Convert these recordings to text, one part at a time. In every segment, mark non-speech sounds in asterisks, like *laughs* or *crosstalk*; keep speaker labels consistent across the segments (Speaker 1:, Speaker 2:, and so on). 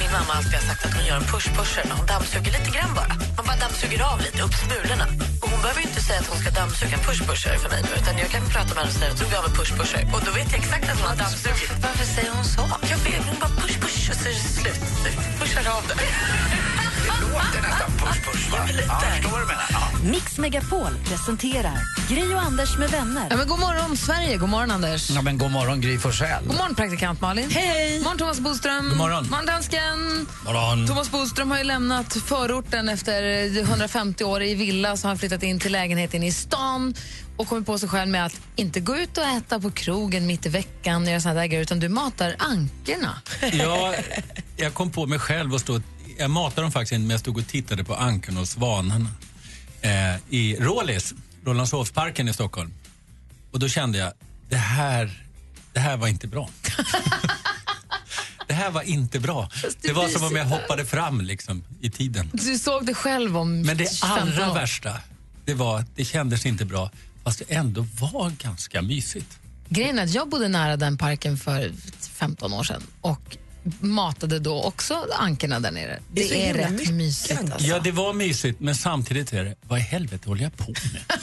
Speaker 1: Min mamma alltid har sagt att hon gör en push-pusher när hon dammsuger lite grann bara. Man bara dammsuger av lite, upp smulorna. Och hon behöver ju inte säga att hon ska dammsuga en push-pusher för mig. Utan jag kan prata med henne och säga att jag drog av en push-pusher. Och då vet jag exakt att hon har dammsugit. Varför säger hon så? Jag vet, hon bara push-push och så är det slut. Pushar av det.
Speaker 2: låter nästan push-push, va? Ja, jag förstår vad du menar. Ja.
Speaker 3: Mix Megapol presenterar Gri och Anders med vänner.
Speaker 4: Ja, men god morgon, Sverige. God morgon, Anders.
Speaker 5: Ja, men god morgon, Gry Forssell.
Speaker 4: God morgon, praktikant Malin. Hej! God morgon, Thomas Boström. God
Speaker 5: morgon. Mm.
Speaker 4: morgon, dansken.
Speaker 5: morgon.
Speaker 4: Thomas Boström har ju lämnat förorten efter 150 år i villa så har han flyttat in till lägenheten i stan och kommit på sig själv med att inte gå ut och äta på krogen mitt i veckan och göra såna där grejer, utan du matar ankerna.
Speaker 6: Jag, jag kom på mig själv och stod, jag matade dem faktiskt inte, men jag stod och tittade på ankorna och svanarna eh, i Rålis, Rålambshovsparken i Stockholm. Och då kände jag, det här, det här var inte bra. det här var inte bra.
Speaker 4: det
Speaker 6: Det var
Speaker 4: visar
Speaker 6: som om jag hoppade fram liksom, i tiden.
Speaker 4: Du såg det själv om
Speaker 6: Men det
Speaker 4: 15
Speaker 6: allra
Speaker 4: år.
Speaker 6: värsta, det var att det kändes inte bra, fast det ändå var ganska mysigt.
Speaker 4: Grejen är att jag bodde nära den parken för 15 år sedan och matade då också ankorna där nere. Det,
Speaker 7: så
Speaker 4: är
Speaker 7: himla
Speaker 4: rätt
Speaker 7: mycket
Speaker 4: mysigt.
Speaker 7: ankor.
Speaker 4: Alltså.
Speaker 6: Ja, det var mysigt, men samtidigt är det, vad i helvete håller jag på med?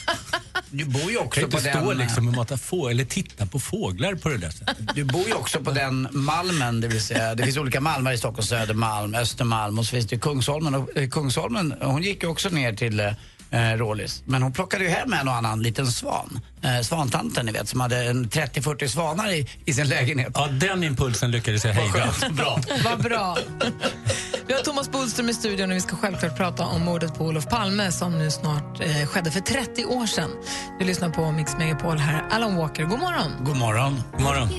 Speaker 8: Du bor ju
Speaker 6: kan
Speaker 8: också
Speaker 6: ju
Speaker 8: på
Speaker 6: inte stå
Speaker 8: den, eh,
Speaker 6: liksom och mata få eller titta på fåglar på det där sättet.
Speaker 8: du bor ju också på den Malmen, det vill säga det finns olika Malmer i Stockholm, Södermalm, Östermalm och så finns det Kungsholmen. Och, eh, Kungsholmen, hon gick ju också ner till eh, Rålis. Men hon plockade ju hem en och annan liten svan. Eh, svantanten ni vet, som hade en 30-40 svanar i, i sin lägenhet.
Speaker 6: Ja, den impulsen lyckades jag hejda.
Speaker 8: *laughs* Bra.
Speaker 4: Vad bra. Vi har Thomas Bodström i studion och vi ska självklart prata om mordet på Olof Palme som nu snart eh, skedde för 30 år sedan. Du lyssnar på Mix Megapol här. Alan Walker, god morgon.
Speaker 8: God morgon.
Speaker 6: God morgon.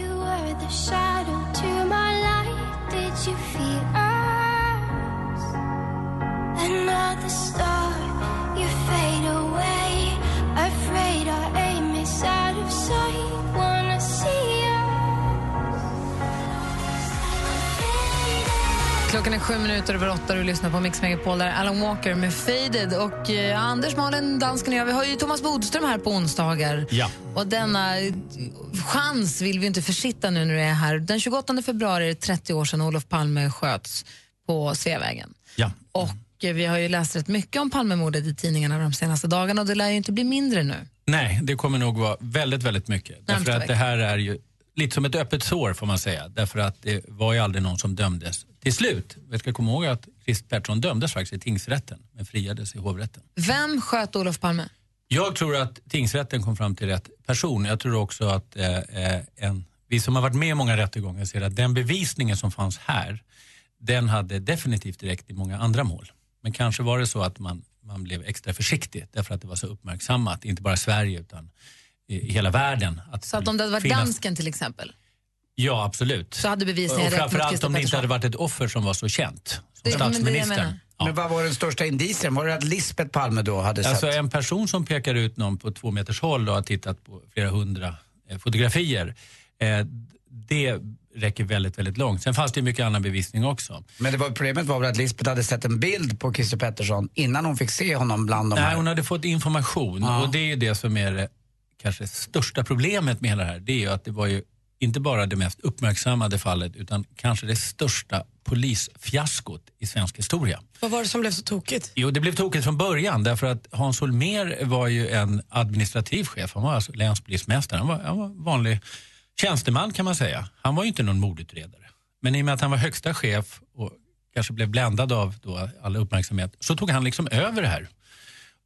Speaker 4: Klockan är sju minuter över åtta och du lyssnar på Mix Megapol där Alan Walker med Faded. Och eh, Anders, Malin, dansken och jag, vi har ju Thomas Bodström här på onsdagar.
Speaker 6: Ja.
Speaker 4: Och denna eh, chans vill vi inte försitta nu när du är här. Den 28 februari är det 30 år sedan Olof Palme sköts på Sveavägen.
Speaker 6: Ja.
Speaker 4: Och eh, vi har ju läst rätt mycket om Palmemordet i tidningarna de senaste dagarna och det lär ju inte bli mindre nu.
Speaker 6: Nej, det kommer nog vara väldigt, väldigt mycket. Därför
Speaker 4: Närmsta
Speaker 6: att det här är ju lite som ett öppet sår får man säga. Därför att det var ju aldrig någon som dömdes till slut. Vi ska komma ihåg att Chris Pettersson dömdes faktiskt i tingsrätten, men friades i hovrätten.
Speaker 4: Vem sköt Olof Palme?
Speaker 6: Jag tror att tingsrätten kom fram till rätt person. Jag tror också att eh, eh, en, vi som har varit med i många rättegångar ser att den bevisningen som fanns här, den hade definitivt direkt i många andra mål. Men kanske var det så att man, man blev extra försiktig därför att det var så uppmärksammat, inte bara i Sverige utan i, i hela världen.
Speaker 4: Så att om det hade varit
Speaker 6: finnas-
Speaker 4: dansken till exempel
Speaker 6: Ja, absolut.
Speaker 4: så hade bevisningen
Speaker 6: och
Speaker 4: räckt mot
Speaker 6: framförallt
Speaker 4: Christer
Speaker 6: om det inte
Speaker 4: Pettersson.
Speaker 6: hade varit ett offer som var så känt,
Speaker 4: Det-
Speaker 6: som
Speaker 4: men det är det jag
Speaker 6: statsministern.
Speaker 4: menar.
Speaker 6: Ja.
Speaker 8: Men vad var den största indicien? Var det att Lisbeth Palme då hade
Speaker 6: Alltså
Speaker 8: sett?
Speaker 6: en person som pekar ut någon på två meters håll och har tittat på flera hundra eh, fotografier. Eh, det räcker väldigt, väldigt långt. Sen fanns det ju mycket annan bevisning också.
Speaker 8: Men det var, problemet var väl att Lisbeth hade sett en bild på Christer Pettersson innan hon fick se honom bland de
Speaker 6: Nej,
Speaker 8: här.
Speaker 6: hon hade fått information och det är ju det som är det kanske största problemet med hela det här. Det är ju att det var ju inte bara det mest uppmärksammade fallet utan kanske det största polisfiaskot i svensk historia.
Speaker 7: Vad var det som blev så tokigt?
Speaker 6: Jo, det blev tokigt från början därför att Hans Holmér var ju en administrativ chef. Han var alltså länspolismästare. Han var, han var vanlig tjänsteman kan man säga. Han var ju inte någon mordutredare. Men i och med att han var högsta chef och kanske blev bländad av då all uppmärksamhet så tog han liksom över det här.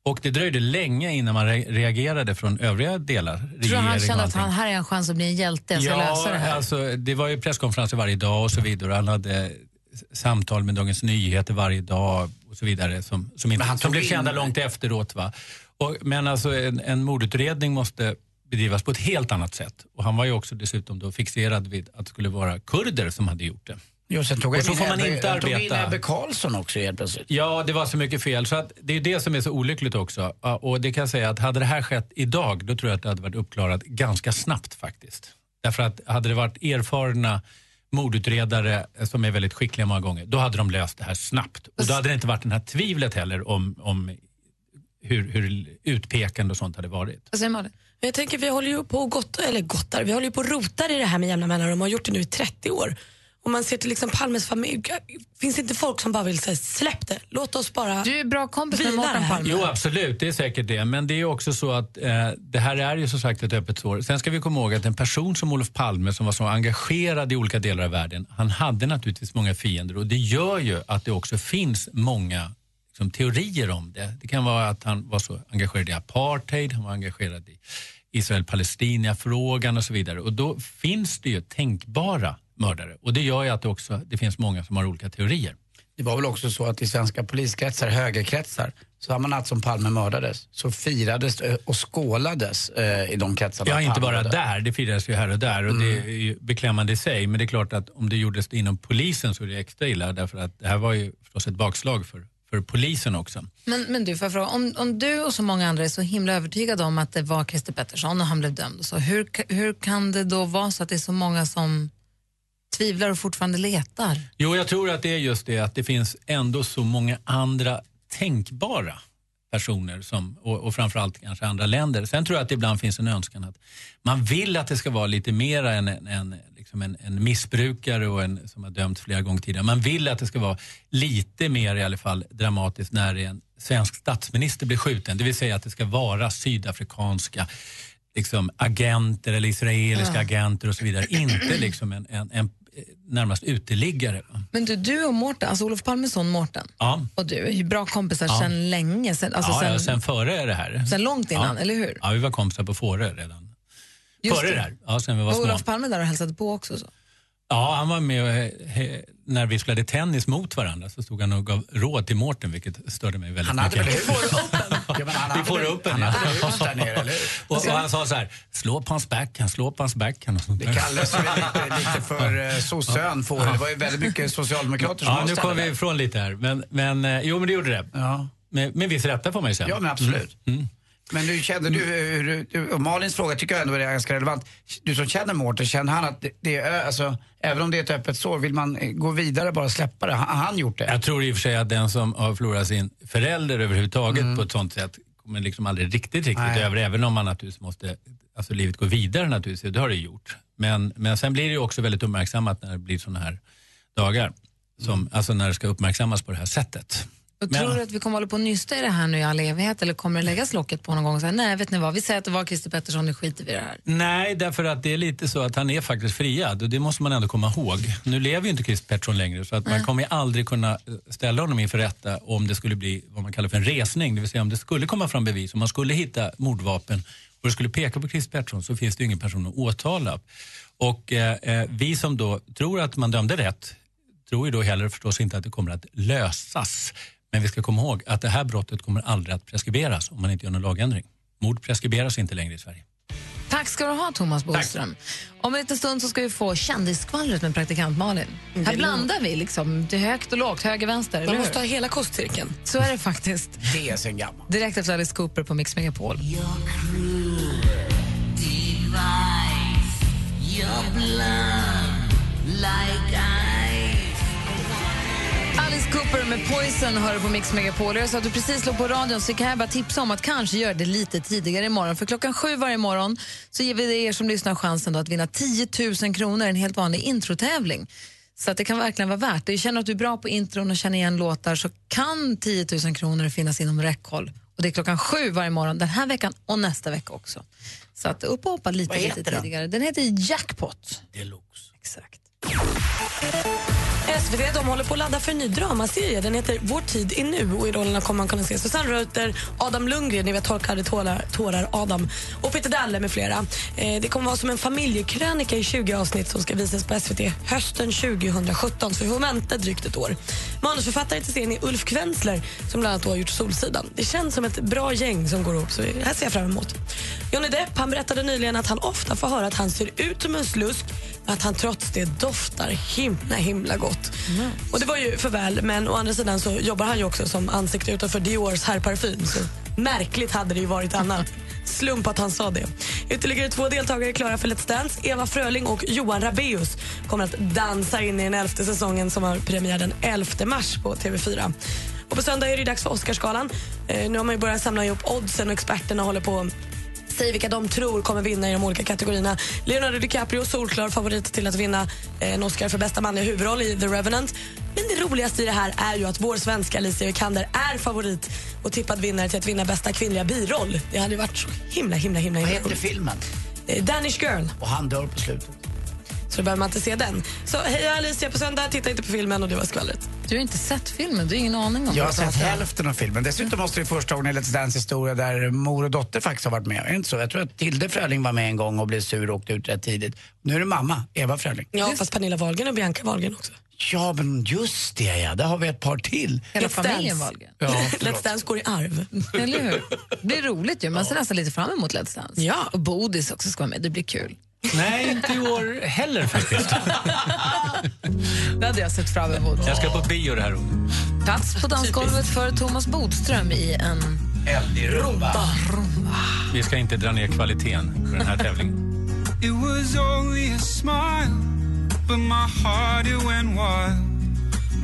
Speaker 6: Och det dröjde länge innan man re- reagerade från övriga delar.
Speaker 4: Tror du
Speaker 6: regering
Speaker 4: han
Speaker 6: och
Speaker 4: kände att
Speaker 6: allting.
Speaker 4: han, här är en chans att bli en hjälte, jag ska lösa det här?
Speaker 6: Alltså, det var ju presskonferenser varje dag och så vidare. Han hade samtal med Dagens Nyheter varje dag och så vidare som, som, inte,
Speaker 8: Men han
Speaker 6: som
Speaker 8: tog
Speaker 6: blev
Speaker 8: in-
Speaker 6: kända långt efteråt. Va? Och, men alltså en, en mordutredning måste bedrivas på ett helt annat sätt. Och han var ju också dessutom då fixerad vid att det skulle vara kurder som hade gjort det.
Speaker 8: Jo, sen tog jag
Speaker 6: Och så
Speaker 8: in
Speaker 6: får man
Speaker 8: Ebbe-
Speaker 6: inte
Speaker 8: jag tog in
Speaker 6: arbeta.
Speaker 8: Ebbe Karlsson också helt plötsligt.
Speaker 6: Ja, det var så mycket fel. Så att det är det som är så olyckligt också. Ja, Och det kan jag säga att hade det här skett idag, då tror jag att det hade varit uppklarat ganska snabbt faktiskt. Därför att hade det varit erfarna mordutredare eh, som är väldigt skickliga många gånger, då hade de löst det här snabbt. Och då hade det inte varit det här tvivlet heller om, om hur, hur utpekande och sånt hade varit.
Speaker 4: Vad säger Malin?
Speaker 5: Men *laughs* jag tänker, vi håller ju på och gottar, eller gottar, vi håller ju på och rotar i det här med jämna mellanrum och har gjort det nu i 30 år. Om man ser till liksom Palmes familj, finns det inte folk som bara vill säga släpp det, låt oss bara...
Speaker 4: Du är bra kompis med
Speaker 5: Vila det
Speaker 4: Mårten
Speaker 5: här.
Speaker 4: Palme.
Speaker 6: Jo, absolut, det är säkert det. Men det är också så att eh, det här är ju som sagt ett öppet sår. Sen ska vi komma ihåg att en person som Olof Palme som var så engagerad i olika delar av världen, han hade naturligtvis många fiender och det gör ju att det också finns många liksom, teorier om det. Det kan vara att han var så engagerad i apartheid, han var engagerad i Israel-Palestina-frågan och så vidare. Och då finns det ju tänkbara mördare och det gör ju att det också det finns många som har olika teorier.
Speaker 8: Det var väl också så att i svenska poliskretsar, högerkretsar, samma natt som Palme mördades så firades eh, och skålades eh, i de kretsarna.
Speaker 6: Ja, inte
Speaker 8: Palme
Speaker 6: bara
Speaker 8: dödades.
Speaker 6: där. Det firades ju här och där och det är ju beklämmande i sig. Men det är klart att om det gjordes inom polisen så är det extra illa därför att det här var ju förstås ett bakslag för, för polisen också.
Speaker 4: Men, men du, får jag fråga, om, om du och så många andra är så himla övertygade om att det var Christer Pettersson och han blev dömd och så, hur, ka- hur kan det då vara så att det är så många som tvivlar och fortfarande letar?
Speaker 6: Jo, jag tror att det är just det att det finns ändå så många andra tänkbara personer som, och, och framförallt kanske andra länder. Sen tror jag att det ibland finns en önskan att man vill att det ska vara lite mer än en, en, liksom en, en missbrukare och en som har dömts flera gånger tidigare. Man vill att det ska vara lite mer i alla fall dramatiskt när en svensk statsminister blir skjuten. Det vill säga att det ska vara sydafrikanska liksom, agenter eller israeliska agenter och så vidare. Inte liksom en, en, en eh, närmast uteliggare. va?
Speaker 4: Men du, du och Mårten, alltså Olof Palmes son Mårten
Speaker 6: Ja.
Speaker 4: och du är ju bra kompisar sedan länge, sen, alltså
Speaker 6: ja,
Speaker 4: sen,
Speaker 6: ja,
Speaker 4: sen,
Speaker 6: sen före det här.
Speaker 4: långt innan, eller hur?
Speaker 6: Ja, vi var kompisar på Fårö redan.
Speaker 4: Just
Speaker 6: före det. här. Ja, sen vi var
Speaker 4: Och
Speaker 6: små.
Speaker 4: Olof Palme där och hälsade på också. Så.
Speaker 6: Ja, han var med och, eh, he, när vi spelade tennis mot varandra så stod han och gav råd till Mårten vilket störde mig väldigt
Speaker 8: Han hade
Speaker 6: mycket.
Speaker 8: väl hus? Ja, men han
Speaker 6: Vi
Speaker 8: hade
Speaker 6: får
Speaker 8: väl-
Speaker 6: upp en,
Speaker 8: Han
Speaker 6: ja.
Speaker 8: hade väl hus där nere, eller hur?
Speaker 6: och, och han sa så här, slå på hans backhand, slå på hans backhand. och sånt
Speaker 8: Det
Speaker 6: där.
Speaker 8: kallades väl lite, lite för eh, sossön får. Det var ju väldigt mycket socialdemokrater som
Speaker 6: Ja, nu
Speaker 8: avställde
Speaker 6: kom vi
Speaker 8: där.
Speaker 6: ifrån lite här. Men, men, eh, jo, men det gjorde det.
Speaker 8: Ja.
Speaker 6: Med, med viss rätta får man ju säga.
Speaker 8: Ja, men absolut.
Speaker 6: Mm.
Speaker 8: Men nu kände du, eh, hur du- du, och Malins fråga tycker jag ändå är ganska relevant. Du som känner Mårten, känner han att det, det är, alltså, även om det är ett öppet sår, vill man eh, gå vidare bara släppa det? Har har han gjort det?
Speaker 6: Jag tror i och för sig att den som har förlorat sin förälder överhuvudtaget på ett sånt sätt kommer liksom aldrig riktigt riktigt
Speaker 8: Mm. Nej.
Speaker 6: över, även om man naturligtvis måste, alltså livet går vidare naturligtvis, det har det gjort. Men, men sen blir det ju också väldigt uppmärksammat när det blir såna här dagar, som,
Speaker 8: Mm.
Speaker 6: alltså när det ska uppmärksammas på det här sättet.
Speaker 4: Och
Speaker 6: Men-
Speaker 4: tror du att vi kommer hålla på och nysta i det här nu i all evighet eller kommer det läggas locket på någon gång? Så här, Nej, vet ni vad, vi säger att det var Christer Pettersson, nu skiter vi i det här.
Speaker 6: Nej, därför att det är lite så att han är faktiskt friad och det måste man ändå komma ihåg. Nu lever ju inte Chris Pettersson längre så att man kommer ju aldrig kunna eh, ställa honom inför rätta om det skulle bli vad man kallar för en resning, det vill säga om det skulle komma fram bevis, om man skulle hitta mordvapen och det skulle peka på Chris Pettersson så finns det ju ingen person att åtala. Och eh, eh, vi som då tror att man dömde rätt tror ju då heller förstås inte att det kommer att lösas. Men vi ska komma ihåg att det här brottet kommer aldrig att preskriberas om man inte gör någon lagändring. Mord preskriberas inte längre i Sverige.
Speaker 4: Tack ska du ha, Thomas Bodström. Om en liten stund så ska vi få kändisskvallret med praktikant Malin.
Speaker 5: Mm,
Speaker 4: Här blandar vi liksom till högt och lågt, höger och vänster.
Speaker 5: Man
Speaker 4: eller
Speaker 5: måste
Speaker 4: hur?
Speaker 5: ha hela kostcirkeln.
Speaker 4: Så är det faktiskt.
Speaker 8: Det är sen gammal.
Speaker 4: Direkt efter Alice Cooper på Mix Megapol. Alice Cooper med Poison hör du på Mix Megapol. Jag sa att du precis slog på radion så kan jag bara tipsa om att kanske göra det lite tidigare imorgon. För klockan sju varje morgon så ger vi er som lyssnar chansen då att vinna 10 000 kronor i en helt vanlig introtävling. Så att det kan verkligen vara värt det. Känner du att du är bra på intron och känner igen låtar så kan 10 000 kronor finnas inom räckhåll. Och det är klockan sju varje morgon den här veckan och nästa vecka också. Så att upp och hoppa lite,
Speaker 8: Vad heter
Speaker 4: lite
Speaker 8: den?
Speaker 4: tidigare. Den heter Jackpot.
Speaker 8: Deluxe.
Speaker 4: Exakt.
Speaker 5: SVT de håller på att ladda för en ny dramaserie. Den heter Vår tid är nu och i rollerna kommer man kunna se Susanne Reuter, Adam Lundgren, ni vet Torkade tårar, tårar Adam och Peter Dalle med flera. Eh, det kommer vara som en familjekrönika i 20 avsnitt som ska visas på SVT hösten 2017 så vi får vänta drygt ett år. Manusförfattare till serien är Ulf Kvensler som bland annat då har gjort Solsidan. Det känns som ett bra gäng som går ihop så det här ser jag fram emot. Johnny Depp han berättade nyligen att han ofta får höra att han ser ut som en slusk att han trots det doftar himla himla gott. Och det var ju för väl, men å andra sidan så jobbar han ju också som ansikte utanför Diors herrparfym. Så märkligt hade det ju varit annat. Slump att han sa det. Ytterligare två deltagare är klara för Let's Dance. Eva Fröling och Johan Rabeus kommer att dansa in i den elfte säsongen som har premiär den 11 mars på TV4. Och på söndag är det dags för Oscarsgalan. Eh, nu har man ju börjat samla ihop oddsen och experterna håller på säger vilka de tror kommer vinna i de olika kategorierna. Leonardo DiCaprio, solklar favorit till att vinna eh, en Oscar för bästa manliga huvudroll i The Revenant. Men det roligaste i det här är ju att vår svenska Alicia Vikander är favorit och tippad vinnare till att vinna bästa kvinnliga biroll. Det hade ju varit så himla, himla, himla,
Speaker 8: Vad
Speaker 5: himla
Speaker 8: heter
Speaker 5: coolt.
Speaker 8: filmen?
Speaker 5: Eh, Danish Girl.
Speaker 8: Och han dör på slutet.
Speaker 5: Så då behöver man inte se den. Så heja Alicia på söndag, titta inte på filmen och det var skvallret.
Speaker 4: Du har inte sett filmen, du har ingen aning om
Speaker 8: Jag
Speaker 4: vad
Speaker 8: har
Speaker 4: det
Speaker 8: sett
Speaker 4: pratar om.
Speaker 8: hälften av filmen. Dessutom måste det vara första gången i Let's Dance historia där mor och dotter faktiskt har varit med. Är det inte så? Jag tror att Tilde Fröling var med en gång och blev sur och åkte ut rätt tidigt. Nu är det mamma, Eva Fröling.
Speaker 5: Ja, fast Pernilla Wahlgren och Bianca Wahlgren också.
Speaker 8: Ja, men just det ja. Där har vi ett par till. *laughs*
Speaker 4: Hela
Speaker 5: Let's
Speaker 4: familjen
Speaker 5: Dance.
Speaker 4: Wahlgren.
Speaker 8: Ja,
Speaker 5: Let's Dance går i arv.
Speaker 4: Eller hur? Det blir roligt ju. Man ser nästan lite fram emot Let's Dance.
Speaker 5: Ja.
Speaker 4: Och Bodis också ska vara med. Det blir kul.
Speaker 6: Nej, inte i år heller faktiskt.
Speaker 4: Det hade jag sett fram emot.
Speaker 6: Jag ska på bio det här året.
Speaker 4: Plats på dansgolvet för Thomas Bodström i en...
Speaker 8: Eld i rumba.
Speaker 6: Vi ska inte dra ner kvaliteten på den här tävlingen.
Speaker 2: It was only a smile, but my heart it went wild.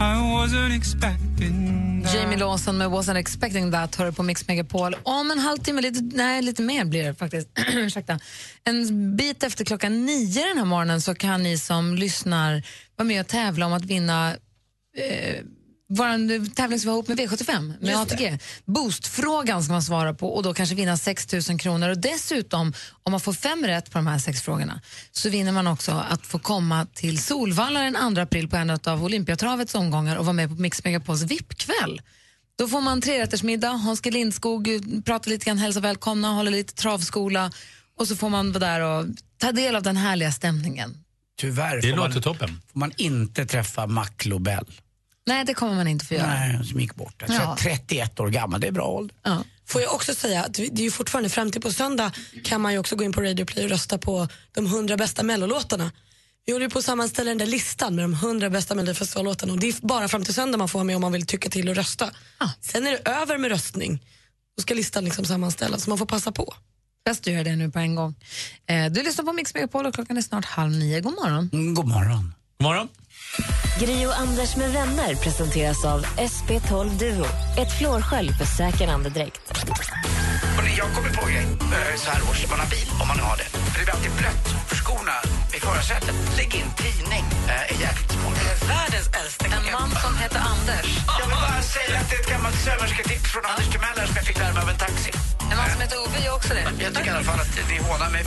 Speaker 2: I wasn't expecting that.
Speaker 4: Jamie Lawson med Wasn't expecting that hör du på Mix Megapol. Om en halvtimme, lite, nej lite mer blir det faktiskt. *clears throat* Ursäkta. En bit efter klockan nio den här morgonen så kan ni som lyssnar vara med och tävla om att vinna eh, vår tävling som vi har ihop med V75, med ATG. Boostfrågan ska man svara på och då kanske vinna 6 000 kronor. Och dessutom, om man får fem rätt på de här sex frågorna, så vinner man också att få komma till Solvalla den 2 april på en av Olympiatravets omgångar och vara med på Mix Megapols VIP-kväll. Då får man trerättersmiddag, Hans G. Lindskog eh, pratar lite grann, hälsar välkomna, håller lite travskola och så får man vara där och ta del av den härliga stämningen.
Speaker 8: Tyvärr
Speaker 6: Det
Speaker 8: får man,
Speaker 6: låter
Speaker 8: får
Speaker 6: toppen.
Speaker 8: man inte träffa Mac Lobell.
Speaker 4: Nej, det kommer man inte få göra.
Speaker 8: Nej, som gick bort. Jag tror
Speaker 4: Ja.
Speaker 8: att 31 år gammal, det är bra ålder.
Speaker 4: Ja.
Speaker 5: Får jag också säga att vi- det är ju fortfarande fram till på söndag kan man ju också gå in på Radio Play och rösta på de 100 bästa mellolåtarna. Vi håller ju på att sammanställa den där listan med de 100 bästa Melodifestivallåtarna och det är bara fram till söndag man får vara med om man vill tycka till och rösta.
Speaker 4: Ah.
Speaker 5: Sen är det över med röstning. Då ska listan liksom sammanställas så man får passa på.
Speaker 4: Bäst du gör det nu på en gång. Eh, du lyssnar på Mix Megapol och klockan är snart halv nio. God morgon.
Speaker 8: Mm, god morgon.
Speaker 6: God morgon.
Speaker 3: Gri och Anders med vänner presenteras av SP12 Duo. Ett flårskölj för säker andedräkt.
Speaker 8: Hörrni, jag kommer på en grej eh, så här års, om man har bil, om man nu har det. För det blir alltid blött för skorna i förarsätet. Lägg in tidning, eh, är jäkligt smart.
Speaker 1: Världens äldsta
Speaker 4: En man som heter Anders.
Speaker 8: Jag vill bara säga att det är ett gammalt sömmersketips från Anders Timell som jag fick lära mig av en taxi.
Speaker 4: En man som heter Ove gör också det.
Speaker 8: Jag tycker i alla fall att ni hånar mig.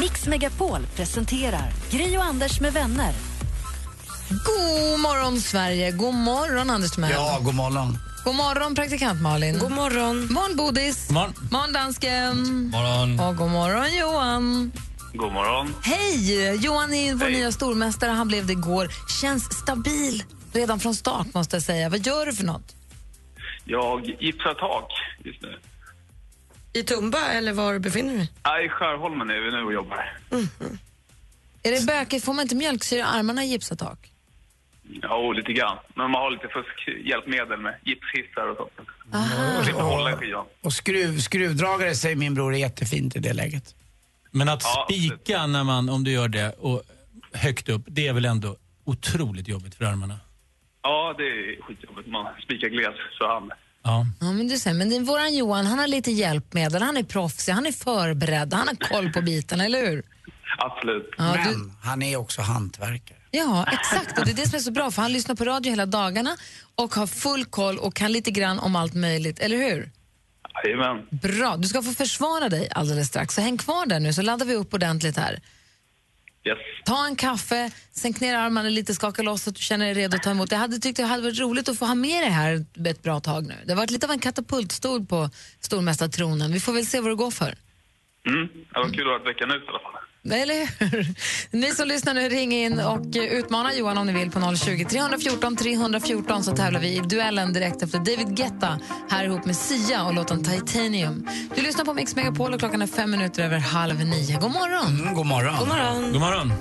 Speaker 3: Mix Megapol presenterar Gri och Anders med vänner.
Speaker 4: God morgon, Sverige. God morgon, Anders Timell.
Speaker 8: Ja, god morgon.
Speaker 4: God morgon, praktikant Malin.
Speaker 5: God morgon.
Speaker 4: morgon, Bodis.
Speaker 6: God morgon.
Speaker 4: morgon, dansken.
Speaker 6: morgon.
Speaker 4: Och god morgon, Johan.
Speaker 2: God morgon.
Speaker 4: Hej! Johan är vår nya stormästare. Han blev det igår. Känns stabil redan från start, måste jag säga. Vad gör du för något?
Speaker 2: Jag gipsar tak just nu.
Speaker 5: I Tumba eller var befinner du dig?
Speaker 2: Nej, I Skärholmen är vi nu och jobbar.
Speaker 4: Är det bökigt? Får man inte mjölksyra i armarna i gipsatak?
Speaker 2: Ja, och lite grann. Men man har lite fuskhjälpmedel med gipshissar och sånt. Man slipper hålla i skivan.
Speaker 8: Och skruv, skruvdragare säger min bror är jättefint i det läget.
Speaker 6: Men att
Speaker 2: Ja,
Speaker 6: spika när man, om du gör det, och högt upp, det är väl ändå otroligt jobbigt för armarna?
Speaker 2: Ja, det är skitjobbigt. Man spikar gles så han...
Speaker 6: Ja.
Speaker 4: Ja, men du säger, men det är våran Johan, han har lite hjälpmedel, han är proffsig, han är förberedd, han har koll på biten, eller hur?
Speaker 2: Absolut.
Speaker 4: Ja,
Speaker 8: Men
Speaker 4: du-
Speaker 8: han är också hantverkare.
Speaker 4: Ja, exakt. Och det är det som är så bra, för han lyssnar på radio hela dagarna och har full koll och kan lite grann om allt möjligt, eller hur?
Speaker 2: Jajamän.
Speaker 4: Bra. Du ska få försvara dig alldeles strax, så häng kvar där nu så laddar vi upp ordentligt här.
Speaker 2: Yes.
Speaker 4: Ta en kaffe, sänk ner armarna lite, skaka loss så att du känner dig redo att ta emot. Jag hade tyckt det hade varit roligt att få ha med dig här ett bra tag nu. Det har varit lite av en katapultstol på stormästartronen. Vi får väl se vad det går för.
Speaker 2: Mm. Det var kul att ha varit veckan ut i alla fall.
Speaker 4: Eller hur? Ni som lyssnar nu, ring in och eh, utmana Johan om ni vill på 020 314 314 så tävlar vi i duellen direkt efter David Guetta här ihop med Sia och låten Titanium. Du lyssnar på Mix Megapol och klockan är fem minuter över halv nio. God morgon!
Speaker 8: Mm, god morgon.
Speaker 5: God morgon.
Speaker 6: God morgon.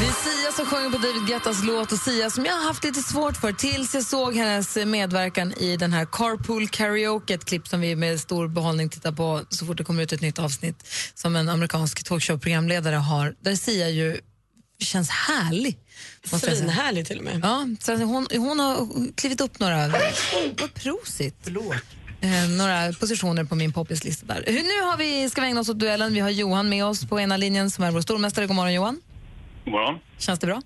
Speaker 4: Det är Sia som sjunger på David Guettas låt och Sia som jag har haft lite svårt för tills jag såg hennes medverkan i den här Carpool Karaoke, ett klipp som vi med stor behållning tittar på så fort det kommer ut ett nytt avsnitt som en amerikansk talkshow-programledare har, där Sia ju känns härlig. måste jag säga.
Speaker 5: Svinhärlig till och med.
Speaker 4: Ja, så att hon, hon har klivit upp några, vad prosit, eh, några positioner på min poppislista där. Hur- Nu har vi, ska vi ägna oss åt duellen. Vi har Johan med oss på ena linjen som är vår stormästare. God morgon Johan,
Speaker 7: God morgon.
Speaker 4: känns det bra?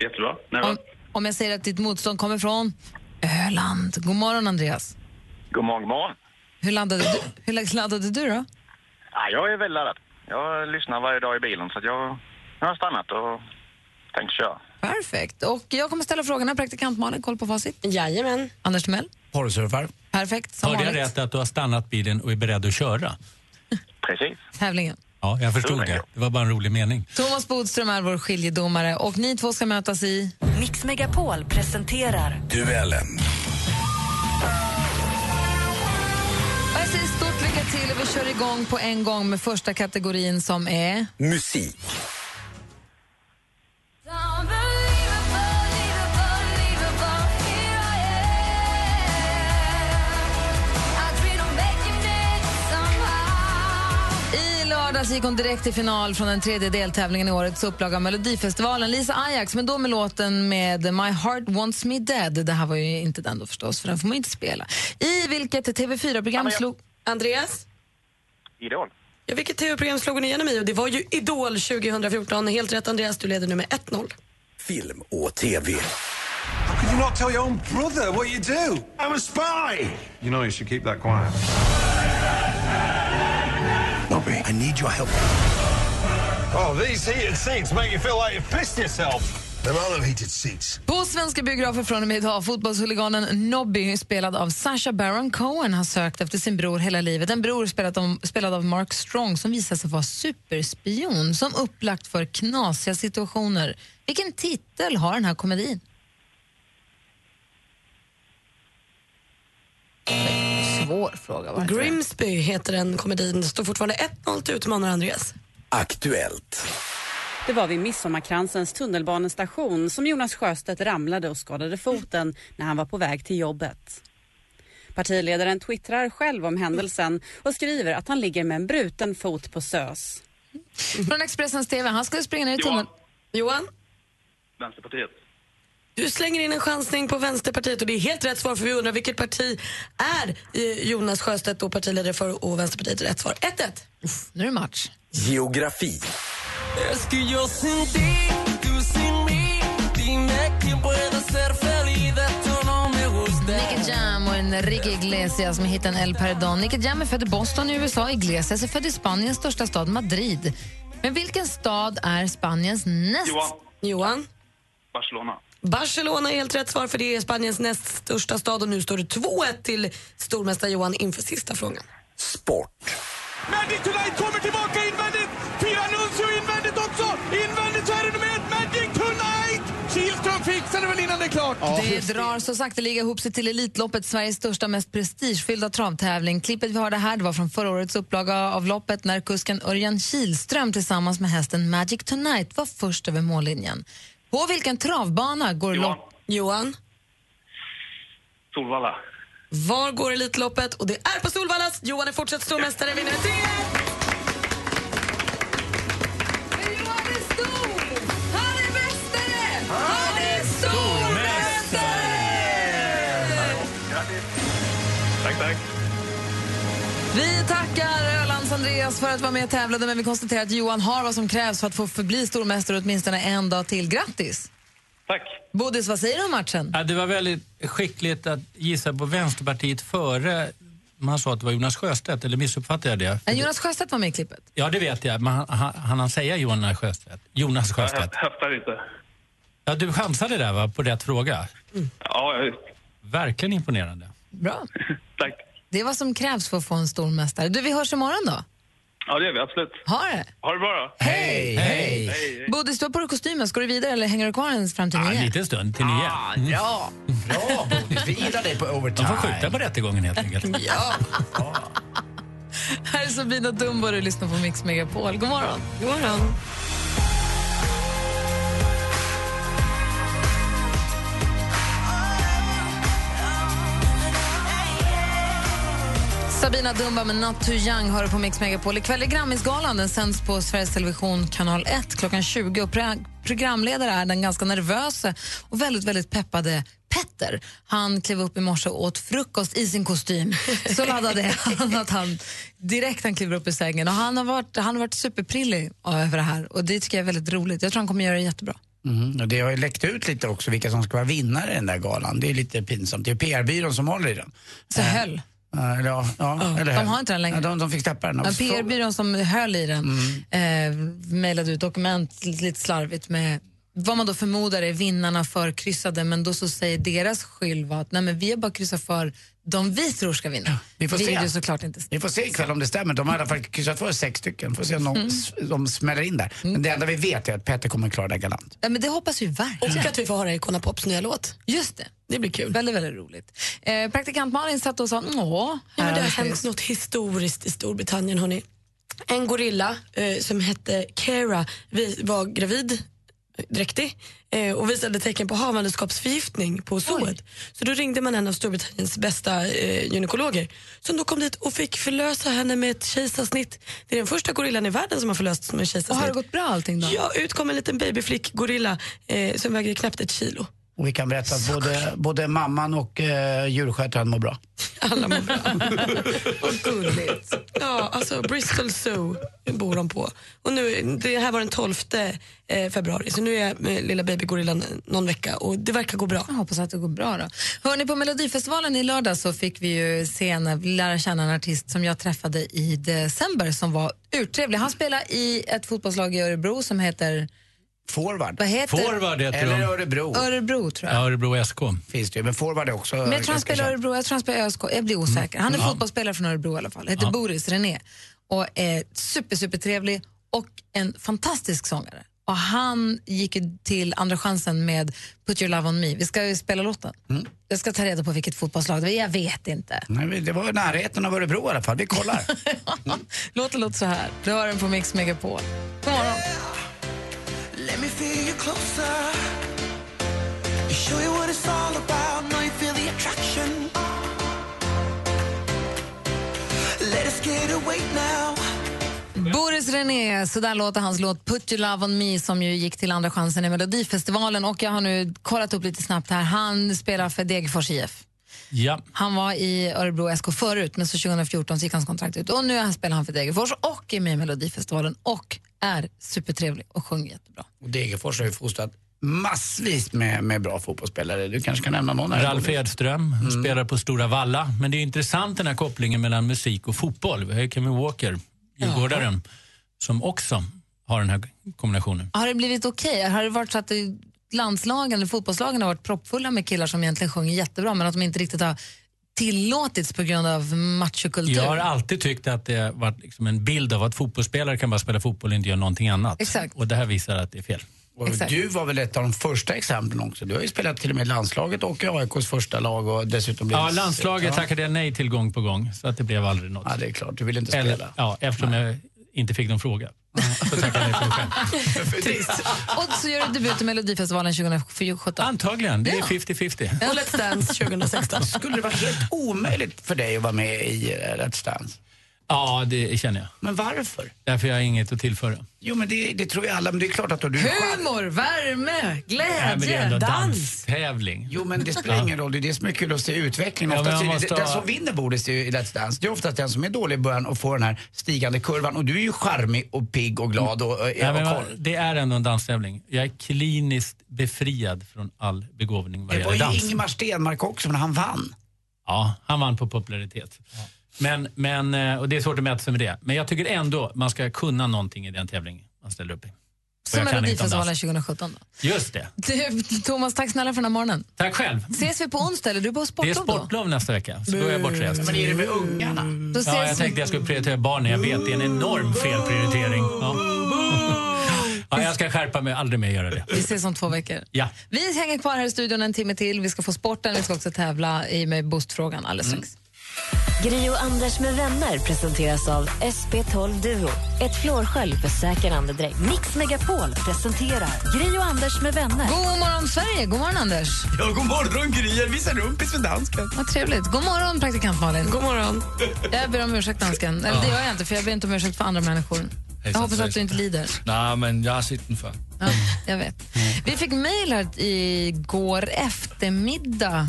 Speaker 7: Jättebra. Nej,
Speaker 4: Om, om jag säger att ditt motstånd kommer från Öland. God morgon, Andreas.
Speaker 7: God morgon, god morgon.
Speaker 4: Hur laddade du, hur la- laddade du då?
Speaker 7: Ja, jag är väl laddad. Jag lyssnar varje dag i bilen så att jag, jag har stannat och tänkt köra.
Speaker 4: Perfekt. Och jag kommer ställa frågorna. Praktikant Malin, koll på facit.
Speaker 5: Jajamän.
Speaker 4: Anders Timell,
Speaker 8: Porrsurfar.
Speaker 4: perfekt. Som
Speaker 6: Hörde jag
Speaker 4: vanligt.
Speaker 6: rätt att du har stannat bilen och är beredd att köra?
Speaker 7: Precis.
Speaker 4: Tävlingen.
Speaker 6: Ja, jag förstod det. Det var bara en rolig mening.
Speaker 4: Thomas Bodström är vår skiljedomare och ni två ska mötas i...
Speaker 3: Mix Megapol presenterar
Speaker 9: Duellen.
Speaker 4: Och Jag säger stort lycka till och vi kör igång på en gång med första kategorin som är...
Speaker 9: Musik.
Speaker 4: I lördags gick hon direkt till final från den tredje deltävlingen i årets upplaga av Melodifestivalen. Lisa Ajax, men då med låten med My Heart Wants Me Dead. Det här var ju inte den då förstås, för den får man inte spela. I vilket TV4-program slog...
Speaker 5: Andreas?
Speaker 7: Idol.
Speaker 5: Ja, vilket tv-program slog hon igenom i? Och det var ju Idol 2014. Helt rätt Andreas, du leder nu med 1-0.
Speaker 9: Film och TV. How could you not tell your own brother what you do? I'm a spy!
Speaker 2: You know you should keep that quiet.
Speaker 9: Bobby, I need your help.
Speaker 2: Oh, these heated seats make you feel like you've pissed yourself.
Speaker 9: There are no heated seats.
Speaker 4: På svenska biografer från och med idag, fotbollshuliganen Nobby spelad av Sacha Baron Cohen har sökt efter sin bror hela livet. En bror spelad, om, spelad av Mark Strong som visar sig vara superspion som upplagt för knasiga situationer. Vilken titel har den här komedin? Svår fråga. Var det inte?
Speaker 5: Grimsby heter den komedin. Det står fortfarande 1-0 till utmanare Andreas.
Speaker 9: Aktuellt.
Speaker 10: Det var vid Midsommarkransens tunnelbanestation som Jonas Sjöstedt ramlade och skadade foten när han var på väg till jobbet. Partiledaren twittrar själv om händelsen och skriver att han ligger med en bruten fot på SÖS.
Speaker 4: Från Expressens TV. Han skulle springa ner i tunneln.
Speaker 5: Johan,
Speaker 7: Vänsterpartiet.
Speaker 5: du slänger in en chansning på Vänsterpartiet och det är helt rätt svar för vi undrar vilket parti är eh, Jonas Sjöstedt då partiledare för och Vänsterpartiet är rätt svar. 1-1.
Speaker 4: Nu är det match.
Speaker 9: Geografi.
Speaker 4: Nicky Jam och Enrique Iglesias med hiten El Perdón. Nicky Jam är född i Boston i USA. Iglesias är född i Spaniens största stad Madrid. Men vilken stad är Spaniens näst...
Speaker 7: Johan.
Speaker 5: Johan,
Speaker 7: Barcelona.
Speaker 5: Barcelona är helt rätt svar för det är Spaniens näst största stad och nu står det 2-1 till stormästare Johan inför sista frågan.
Speaker 9: Sport.
Speaker 2: Magic Tonight kommer tillbaka invändigt! Fyra Nuncio invändigt också! Invändigt så är det nummer ett, Magic Tonight! Kihlström fixar det väl innan det är klart?
Speaker 4: Det drar så sakteliga ihop sig till Elitloppet, Sveriges största mest prestigefyllda travtävling. Klippet vi hörde här det var från förra årets upplaga av loppet när kusken Örjan Kihlström tillsammans med hästen Magic Tonight var först över mållinjen. På vilken travbana går
Speaker 7: Johan.
Speaker 4: loppet?
Speaker 5: Johan,
Speaker 7: Solvalla.
Speaker 5: var går Elitloppet? Och det är på Solvallas. Johan är fortsatt stormästare, vinner med 3
Speaker 4: Johan är stor! Han är mästare! Han är stormästare!
Speaker 7: Tack, tack.
Speaker 4: Vi tackar Ölands Andreas för att vara med och tävlade men vi konstaterar att Johan har vad som krävs för att få förbli stormästare åtminstone en dag till. Grattis!
Speaker 7: Tack.
Speaker 4: Bodis, vad säger du om matchen?
Speaker 6: Ja, det var väldigt skickligt att gissa på Vänsterpartiet före man sa att det var Jonas Sjöstedt, eller missuppfattade jag det?
Speaker 4: Nej, Äh, Jonas Sjöstedt var med i klippet.
Speaker 6: Ja, det vet jag. Men han, han, han, han säga Jonas Sjöstedt? Jonas Sjöstedt.
Speaker 7: Jag höftar inte.
Speaker 6: Ja, du chansade där va, på rätt fråga.
Speaker 7: Ja, jag-
Speaker 6: Verkligen imponerande.
Speaker 4: Bra.
Speaker 7: tack.
Speaker 4: Det är vad som krävs för att få en stormästare. Du, vi hörs imorgon då.
Speaker 7: Ja, det gör vi absolut.
Speaker 4: Ha det!
Speaker 7: Ha det bra då.
Speaker 4: Hej! *laughs*
Speaker 7: Hej!
Speaker 4: Bodis, du har på dig kostymen. Ska du vidare eller hänger du kvar ens fram till
Speaker 6: Ja, en
Speaker 4: nio?
Speaker 6: liten stund till nio.
Speaker 8: Ah,
Speaker 6: Mm.
Speaker 8: Ja, bra Bodis. Vi gillar dig på overtime.
Speaker 6: De får skjuta på rättegången helt enkelt.
Speaker 8: Ja.
Speaker 4: Här är Sabina Dumbo och du lyssnar på Mix Megapol. God morgon!
Speaker 5: God morgon.
Speaker 4: Sabina Dumba med Not Too Young hör du på Mix Megapol. Ikväll är Grammisgalan. Den sänds på Sveriges Television kanal 1 klockan 20. Och pre- programledare är den ganska nervöse och väldigt, väldigt peppade Petter. Han klev upp i morse och åt frukost i sin kostym. Så *laughs* laddade han att han direkt han kliver upp i sängen. Och han har varit, han har varit superprillig eh, över det här och det tycker jag är väldigt roligt. Jag tror han kommer göra det jättebra.
Speaker 8: Mm, och det har ju läckt ut lite också vilka som ska vara vinnare i den där galan. Det är lite pinsamt. Det är PR-byrån som håller i den.
Speaker 4: Så höll.
Speaker 8: Eh, eller ja, ja, eller
Speaker 4: de
Speaker 8: hur?
Speaker 4: har inte den längre.
Speaker 8: Ja, de, de fick släppa den.
Speaker 4: Ja,
Speaker 8: också.
Speaker 4: PR-byrån som höll i den eh, mejlade ut dokument lite slarvigt med vad man då förmodar är vinnarna förkryssade men då så säger deras skyll var att nej men vi har bara kryssat för de vi tror ska vinna.
Speaker 8: Vi får
Speaker 4: Det är
Speaker 8: se.
Speaker 4: ju såklart inte
Speaker 8: Vi får se ikväll om det stämmer. De har i alla fall kryssat för sex stycken. Får se om de,
Speaker 4: Mm.
Speaker 8: s- de smäller in där. Men det enda vi vet är att Petter kommer klara det här galant.
Speaker 4: Ja, men det hoppas vi verkligen.
Speaker 5: Och att vi får höra Icona Pops nya låt.
Speaker 4: Just det.
Speaker 5: Det blir kul.
Speaker 4: Väldigt, väldigt roligt. Eh, praktikant Malin satt och sa åh.
Speaker 5: Ja, men det har
Speaker 4: här
Speaker 5: hänt något historiskt i Storbritannien. Hörrni. En gorilla eh, som hette Kara vi var gravid, eh, dräktig eh, och visade tecken på havandeskapsförgiftning på zooet. Så då ringde man en av Storbritanniens bästa eh, gynekologer som då kom dit och fick förlösa henne med ett kejsarsnitt. Det är den första gorillan i världen som har förlösts med
Speaker 4: Och
Speaker 5: kejsarsnitt.
Speaker 4: har det gått bra allting då?
Speaker 5: Ja, ut kom en liten babyflick-gorilla eh, som väger knappt ett kilo.
Speaker 8: Och vi kan berätta att både, både mamman och eh, djurskötaren mår bra.
Speaker 5: Gulligt. Ja, alltså Bristol Zoo bor de på. Och nu, det här var den 12 eh, februari, så nu är eh, lilla babygorillan någon vecka och det verkar gå bra.
Speaker 4: Jag hoppas att det går bra då. Hörrni, på Melodifestivalen i lördag så fick vi ju se en, lära känna en artist som jag träffade i december som var urtrevlig. Han spelar i ett fotbollslag i Örebro som heter
Speaker 8: Forward.
Speaker 4: Vad heter-
Speaker 6: Forward heter
Speaker 8: Eller
Speaker 6: de.
Speaker 8: Örebro.
Speaker 4: Örebro tror jag.
Speaker 6: Ja, Örebro SK.
Speaker 8: Finns det ju, men forward är också
Speaker 4: Men jag tror han
Speaker 8: ganska
Speaker 4: spelar
Speaker 8: känd.
Speaker 4: Örebro, jag tror han spelar ÖSK. Jag blir osäker. Han är
Speaker 8: Mm. Ja.
Speaker 4: fotbollsspelare från Örebro i alla fall. Heter
Speaker 8: Ja.
Speaker 4: Boris René och är super, super trevlig och en fantastisk sångare. Och han gick ju till Andra chansen med Put your love on me. Vi ska ju spela låten. Jag ska ta reda på vilket fotbollslag det var. Jag vet inte.
Speaker 8: Mm. Nej, men det var i närheten av Örebro i alla fall. Vi kollar.
Speaker 4: *laughs* Låten *laughs* låter så här. Du hör den på Mix Megapol. God morgon.
Speaker 11: Let me feel you closer. Show you what it's all about. Now you feel the attraction. Let us get away now.
Speaker 4: Boris René, så där låter hans låt Put your love on me som ju gick till Andra chansen i Melodifestivalen. Och jag har nu kollat upp lite snabbt här. Han spelar för Degerfors IF.
Speaker 6: Ja.
Speaker 4: Han var i Örebro SK förut, men så 2014 så gick hans kontrakt ut. Och nu spelar han för Degerfors och är med i Melodifestivalen och är supertrevlig och sjunger jättebra.
Speaker 8: Och Degerfors har ju fostrat massvis med, med bra fotbollsspelare. Du kanske kan nämna någon här?
Speaker 6: Ralf Edström
Speaker 8: Mm.
Speaker 6: spelar på Stora Valla. Men det är intressant den här kopplingen mellan musik och fotboll. Vi har ju Kevin Walker, djurgårdaren, som också har den här kombinationen.
Speaker 4: Har det blivit okej? Har det varit så att det- landslagen eller fotbollslagen har varit proppfulla med killar som egentligen sjunger jättebra men att de inte riktigt har tillåtits på grund av machokultur?
Speaker 6: Jag har alltid tyckt att det har varit liksom en bild av att fotbollsspelare kan bara spela fotboll och inte göra någonting annat.
Speaker 4: Exakt.
Speaker 6: Och det här visar att det är fel.
Speaker 8: Och du var väl ett av de första exemplen också. Du har ju spelat till och med i landslaget och i AIKs första lag och dessutom
Speaker 6: Ja,
Speaker 8: blivit-
Speaker 6: landslaget tackade jag nej till gång på gång, så att det blev aldrig något. Ja,
Speaker 8: det är klart. Du ville inte
Speaker 6: spela.
Speaker 8: *laughs*
Speaker 6: Ja, eftersom jag inte fick någon fråga.
Speaker 8: Trist.
Speaker 4: Och så gör du debut i Melodifestivalen 2017.
Speaker 6: Antagligen, det är
Speaker 4: Ja.
Speaker 6: 50-50.
Speaker 4: Och Let's Dance 2016.
Speaker 8: Skulle det vara helt omöjligt för dig att vara med i eh, Let's Dance?
Speaker 6: Ja, det känner jag.
Speaker 8: Men varför?
Speaker 6: Därför jag har inget att tillföra.
Speaker 8: Jo, men det, det tror vi alla, men det är klart att då du
Speaker 4: Humor, värme,
Speaker 8: Nej, men det är
Speaker 4: glädje,
Speaker 8: ändå
Speaker 4: dans.
Speaker 6: Tävling.
Speaker 8: Jo, men det spelar ingen roll. Det är det som är kul att se utvecklingen.
Speaker 6: Ja, men
Speaker 8: Oftast
Speaker 6: man
Speaker 8: är det,
Speaker 6: måste
Speaker 8: den
Speaker 6: ha-
Speaker 8: som vinner bordet i i Let's Dance, det är oftast den som är dålig i början och får den här stigande kurvan. Och du är ju charmig och pigg och glad och, eh, och,
Speaker 6: Nej, men
Speaker 8: och
Speaker 6: jag,
Speaker 8: koll.
Speaker 6: det är ändå en danstävling. Jag är kliniskt befriad från all begåvning vad
Speaker 8: Det var
Speaker 6: gäller
Speaker 8: ju
Speaker 6: dans.
Speaker 8: Ingemar Stenmark också, men han vann.
Speaker 6: Ja, han vann på popularitet. Men, men, eh, och det är svårt att mäta sig med det. Men jag tycker ändå man ska kunna någonting i den tävling man ställer upp i. Och jag
Speaker 4: Som
Speaker 6: kan inte andas.
Speaker 4: Melodifestivalen 2017. Då.
Speaker 6: Just det.
Speaker 4: Du, Thomas, tack snälla för den här morgonen.
Speaker 6: Tack själv.
Speaker 4: Ses vi på onsdag eller du är på
Speaker 6: Det är
Speaker 4: sportlov då?
Speaker 6: sportlov nästa vecka, så då är jag bortrest.
Speaker 8: Men är det med ungarna?
Speaker 4: Då
Speaker 6: Ja,
Speaker 4: ses
Speaker 6: jag
Speaker 4: vi.
Speaker 6: tänkte jag skulle prioritera barnen. Jag vet, det är en enorm felprioritering. Ja. *laughs* Ja, jag ska skärpa mig. Aldrig mer göra det.
Speaker 4: Vi ses om två veckor.
Speaker 6: Ja.
Speaker 4: Vi hänger kvar här i studion en timme till. Vi ska få sporten, vi ska också tävla i med boostfrågan alldeles
Speaker 6: Mm.
Speaker 4: strax.
Speaker 3: Gri och Anders med vänner presenteras av SP12 Duo. Ett flårskölj för säker andedräkt. Mix Megapol presenterar Gri och Anders med vänner.
Speaker 4: God morgon Sverige, god morgon Anders.
Speaker 8: Ja, god morgon Gry, jag visar rumpis för dansken.
Speaker 4: Vad trevligt. God morgon praktikant Malin.
Speaker 5: God morgon.
Speaker 4: Jag ber om ursäkt dansken. Eller det gör jag inte för jag ber inte om ursäkt för andra människor. Jag
Speaker 12: Hejsan,
Speaker 4: hoppas att du
Speaker 12: svejsan.
Speaker 4: inte lider.
Speaker 12: Nej, men jag har sett den förr.
Speaker 4: Ja, jag vet.
Speaker 6: Mm.
Speaker 4: Vi fick mejl här igår eftermiddag.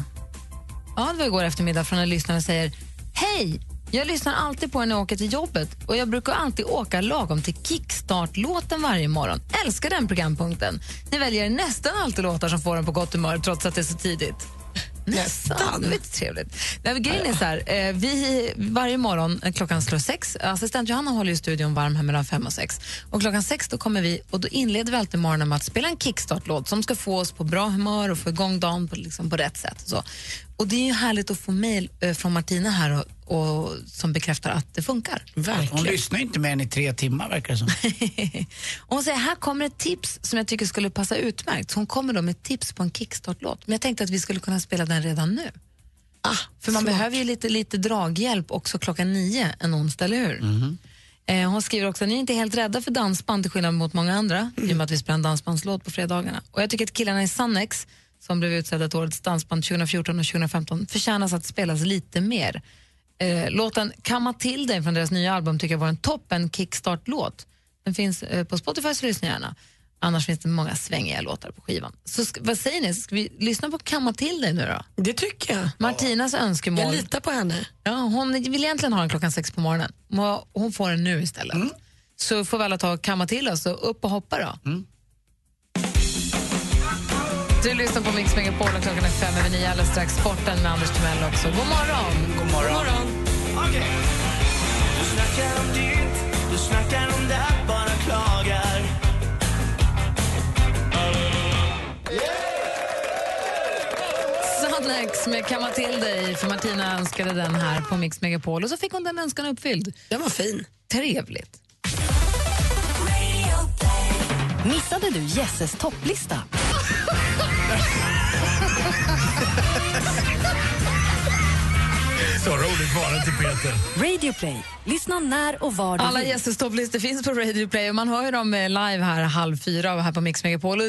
Speaker 4: Ja, det var igår eftermiddag från en lyssnare som säger Hej! Jag lyssnar alltid på er när jag åker till jobbet och jag brukar alltid åka lagom till kickstart-låten varje morgon. Älskar den programpunkten. Ni väljer nästan alltid låtar som får en på gott humör trots att det är så tidigt. Nästan. Det var inte trevligt. Nej, men grejen är så här, eh, vi, varje morgon eh, klockan slår sex, assistent Johanna håller ju studion varm här mellan fem och sex. Och klockan sex då kommer vi och då inleder vi alltid morgonen med att spela en kickstart-låt som ska få oss på bra humör och få igång dagen på, liksom, på rätt sätt. Och, så. och det är ju härligt att få mejl eh, från Martina här och, och, som bekräftar att det funkar.
Speaker 8: Hon lyssnar inte mer än i tre timmar verkar det som.
Speaker 4: Och *laughs* hon säger här kommer ett tips som jag tycker skulle passa utmärkt. Så Hon kommer då med ett tips på en kickstart-låt. Men jag tänkte att vi skulle kunna spela den redan nu. Ah, För man behöver ju lite, lite draghjälp också klockan nio en onsdag, eller hur? Eh, hon skriver också, ni är inte helt rädda för dansband till skillnad mot många andra, i och med att vi spelar en dansbandslåt på fredagarna. Och jag tycker att killarna i Sannex, som blev utsedda till årets dansband 2014 och 2015, förtjänas att spelas lite mer. Eh, låten Kamma till dig från deras nya album tycker jag var en toppen kickstart-låt. Den finns eh, på Spotify, så lyssna gärna. Annars finns det många svängiga låtar på skivan. Så sk- vad säger ni, ska vi lyssna på Kamma till dig nu då?
Speaker 5: Det tycker jag.
Speaker 4: Martinas önskemål.
Speaker 5: Jag litar på henne.
Speaker 4: Ja, hon vill egentligen ha den klockan sex på morgonen. Må- Hon får den nu istället.
Speaker 5: Mm.
Speaker 4: Så får vi alla ta och kamma till oss och upp och hoppa då.
Speaker 5: Mm.
Speaker 4: Du lyssnar på Mix Megapol och klockan är fem över nio. Alldeles strax sporten med Anders Timell också. God morgon!
Speaker 8: God morgon.
Speaker 11: Du snackar om ditt, du snackar om det, bara klagar.
Speaker 4: Sannex med Kamma till dig, för Martina önskade den här på Mix Megapol och så fick hon den önskan uppfylld.
Speaker 5: Den var fin.
Speaker 4: Trevligt.
Speaker 3: Missade du Jesses topplista?
Speaker 12: Så roligt var det inte, Peter.
Speaker 3: Radio Play. Lyssna när och var du
Speaker 4: Alla
Speaker 3: vill.
Speaker 4: gästers topplistor finns på Radio Play och man hör ju dem eh, live här halv fyra och här på Mix Megapol. Och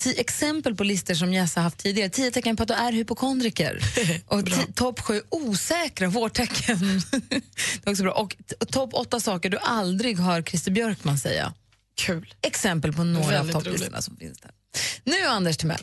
Speaker 4: ti- exempel på listor som Jess har haft tidigare. Tio tecken på att du är hypokondriker. Och ti- topp sju osäkra vårtecken. *laughs* det är också bra. Och t- och topp åtta saker du aldrig hör Christer Björkman säga.
Speaker 5: Kul.
Speaker 4: Exempel på några av
Speaker 5: Väldigt
Speaker 4: topplistorna
Speaker 5: roligt.
Speaker 4: som finns där. Nu Anders Timell.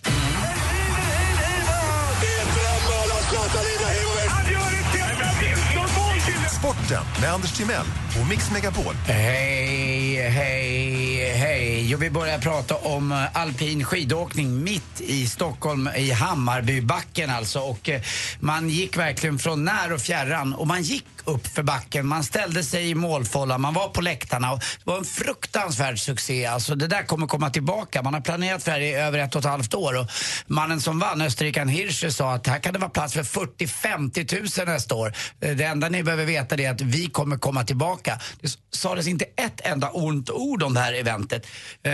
Speaker 9: Sporten med Anders Timell och Mix Megapol.
Speaker 8: Hej, hej, hej. Jo, vi börjar prata om eh, alpin skidåkning mitt i Stockholm, i Hammarbybacken alltså. Och eh, man gick verkligen från när och fjärran och man gick upp för backen. Man ställde sig i målfållan, man var på läktarna. Och det var en fruktansvärd succé. Alltså, det där kommer komma tillbaka. Man har planerat för det här i över ett och ett halvt år. Och mannen som vann, österrikaren Hirscher, sa att här kan det vara plats för 40-50 000 nästa år. Eh, Det enda ni behöver veta det är att vi kommer komma tillbaka. Det s- sades inte ett enda ont ord om det här eventet. Eh,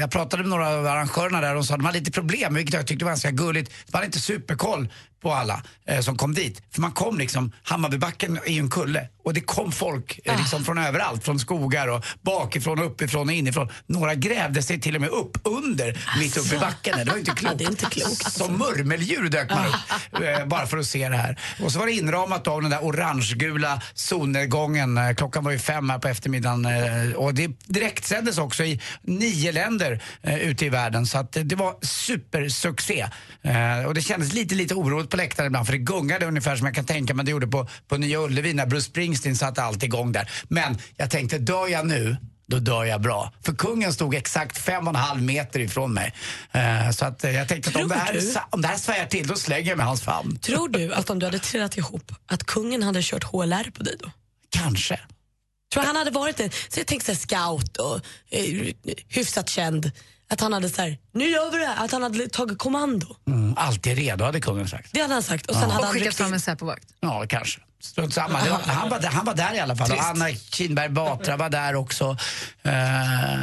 Speaker 8: Jag pratade med några av arrangörerna där och de sa att de hade lite problem, vilket jag tyckte var ganska gulligt. De hade inte superkoll på alla eh, som kom dit. För man kom liksom, Hammarbybacken är ju en kulle och det kom folk eh, liksom från överallt, från skogar och bakifrån, och uppifrån och inifrån. Några grävde sig till och med upp under, mitt uppe i backen. Alltså. Det var ju *laughs* inte klokt. det är inte klokt. Som murmeldjur dök man upp eh, bara för att se det här. Och så var det inramat av den där orangegula solnedgången. Eh, Klockan var ju fem här på eftermiddagen eh, och det direktsändes också i nio länder eh, ute i världen. Så att eh, det var supersuccé. Eh, och det kändes lite, lite oroligt på läktaren ibland för det gungade ungefär som jag kan tänka mig det gjorde på, på Nya Ullevi när Bruce Springsteen satte allt igång där. Men jag tänkte, dör jag nu? Då dör jag bra. För kungen stod exakt fem och en halv meter ifrån mig. Eh, Så att eh, jag tänkte att om
Speaker 5: Tror
Speaker 8: det, här,
Speaker 5: du?
Speaker 8: sa- om det här svajar till, då slänger jag mig i hans famn.
Speaker 5: Tror du att om du hade trillat ihop, att kungen hade kört HLR på dig då?
Speaker 8: Kanske.
Speaker 5: Tror han hade varit det. Så jag tänkte så här, scout och eh, hyfsat känd. Att han hade så här, nu gör vi det här. Att han hade tagit kommando.
Speaker 8: Mm, alltid redo, hade kungen sagt.
Speaker 5: Det hade han sagt. Och sen hade han ryckt in.
Speaker 4: en Säpovaktare.
Speaker 8: Ja, kanske. Strunt samma. Det var, han, var, där- han var där i alla fall. Och
Speaker 4: Trist.
Speaker 8: Anna Kinberg Batra var där också. Eh,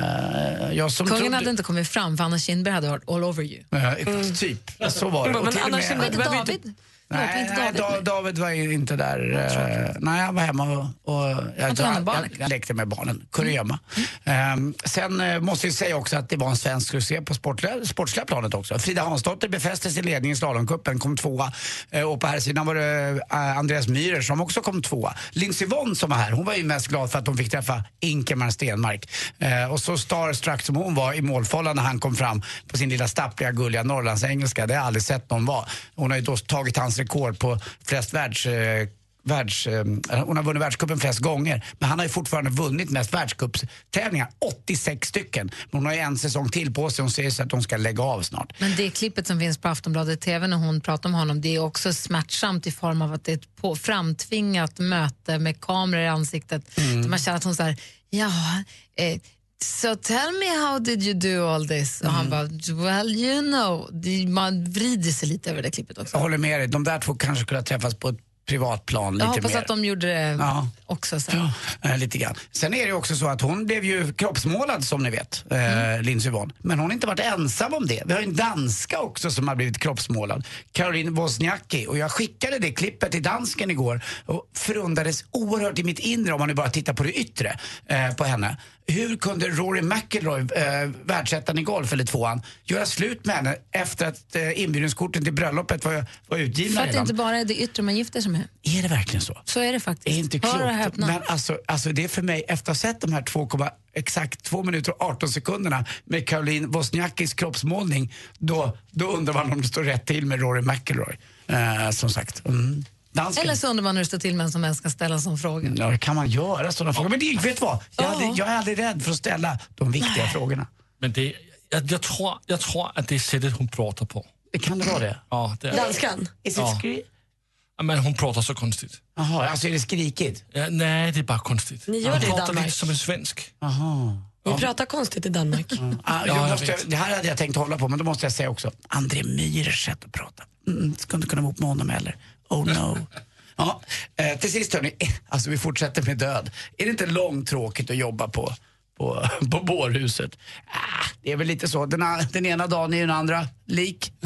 Speaker 8: jag som
Speaker 4: Kungen
Speaker 8: trodde-
Speaker 4: hade inte kommit fram för Anna Kinberg hade varit all over you.
Speaker 8: Eh, Typ, så var det.
Speaker 4: Men
Speaker 8: Och till och
Speaker 4: Anna
Speaker 8: med-
Speaker 4: Kinberg Var inte behöver ju inte- David? Förlåt, var
Speaker 8: Nej,
Speaker 4: inte
Speaker 8: nej
Speaker 4: David
Speaker 8: David, David var ju inte där. eh, Nej, han var hemma och, och jag,
Speaker 4: tog hand om
Speaker 8: jag,
Speaker 4: barnen.
Speaker 8: jag lekte med barnen. Kunde gömma. Ehm, sen eh, måste vi säga också att det var en svensk succé på sportliga, sportsliga planet också. Frida Hansdotter befäste sin ledning i slalomcupen, kom tvåa. Eh, och på här sidan var det eh, Andreas Myhrer som också kom tvåa. Lindsey Vonn som var här, hon var ju mest glad för att hon fick träffa Ingemar Stenmark. Eh, och så starstruck som hon var i målfållan när han kom fram på sin lilla stappliga gulliga norrlandsengelska. Det har jag aldrig sett någon vara. Hon har ju då tagit hans rekord på flest världs... Eh, världs, eh, hon har vunnit världscupen flest gånger, men han har ju fortfarande vunnit mest världscupstävlingar, 86 stycken. Men hon har ju en säsong till på sig, hon säger så att hon ska lägga av snart.
Speaker 4: Men det klippet som finns på Aftonbladet TV när hon pratar om honom, det är också smärtsamt i form av att det är ett på, framtvingat möte med kameror i ansiktet.
Speaker 13: Mm.
Speaker 4: Där man känner att hon säger, ja, eh, so tell me how did you do all this? Och han
Speaker 8: Mm.
Speaker 4: bara, well you know. Det- Man vrider sig lite över det klippet också.
Speaker 8: Jag håller med dig, de där två kanske skulle ha träffats på ett privat plan lite
Speaker 4: Jag hoppas
Speaker 8: mer.
Speaker 4: att de gjorde det
Speaker 8: Ja.
Speaker 4: också sen.
Speaker 8: Eh, lite grann. Sen är det ju också så att hon blev ju kroppsmålad som ni vet,
Speaker 4: Mm.
Speaker 8: eh, Lindsey Vonn. Men hon har inte varit ensam om det. Vi har ju en danska också som har blivit kroppsmålad. Caroline Wozniacki. Och jag skickade det klippet till dansken igår och förundrades oerhört i mitt inre om man nu bara tittar på det yttre eh, på henne. Hur kunde Rory McIlroy, eh, världsettan i golf, eller tvåan, göra slut med henne efter att eh, inbjudningskorten till bröllopet var, var utgivna
Speaker 4: För att det
Speaker 8: redan?
Speaker 4: inte bara är det yttre man gifter sig med.
Speaker 8: Är det verkligen så?
Speaker 4: Så är det faktiskt.
Speaker 8: Det är inte
Speaker 4: Hör och
Speaker 8: klokt.
Speaker 4: häpna.
Speaker 8: Men alltså, alltså det är för mig, efter att ha sett de här 2, exakt 2 minuter och 18 sekunderna med Caroline Wozniackis kroppsmålning, då, då undrar man om det står rätt till med Rory McIlroy. Eh, som sagt. Mm. Dansken.
Speaker 4: Eller så undrar man hur det står till med en som ens ska ställa en sån fråga.
Speaker 8: Ja, kan man göra sådana frågor? Men det, vet du vad? Jag, är aldrig, jag är aldrig rädd för att ställa de viktiga frågorna.
Speaker 12: Men det, jag, jag, tror, jag tror att det är sättet hon pratar på.
Speaker 8: Kan det vara det?
Speaker 12: Ja, det är
Speaker 5: Danskan?
Speaker 8: Is it
Speaker 12: Ja.
Speaker 8: skri-
Speaker 12: Ja, Men hon pratar så konstigt.
Speaker 8: Jaha, alltså är det skrikigt?
Speaker 12: Ja, nej, det är bara konstigt.
Speaker 5: Ni gör
Speaker 12: hon
Speaker 5: det i
Speaker 12: pratar
Speaker 5: Danmark.
Speaker 12: lite som en svensk.
Speaker 8: Aha.
Speaker 5: Ni pratar konstigt i Danmark.
Speaker 8: Ah,
Speaker 12: Ja,
Speaker 8: jag
Speaker 12: jag
Speaker 8: måste,
Speaker 12: vet.
Speaker 8: det här hade jag tänkt hålla på, men då måste jag säga också, André Myhrers sätt att prata. Mm, skulle inte kunna vara ihop med honom heller. Oh
Speaker 12: *laughs*
Speaker 8: no. ja, eh, till sist hörni, *laughs* alltså vi fortsätter med död. Är det inte långt tråkigt att jobba på, på, *laughs* på bårhuset? Ah, det är väl lite så, den, a- den ena dagen är ju den andra lik. *laughs*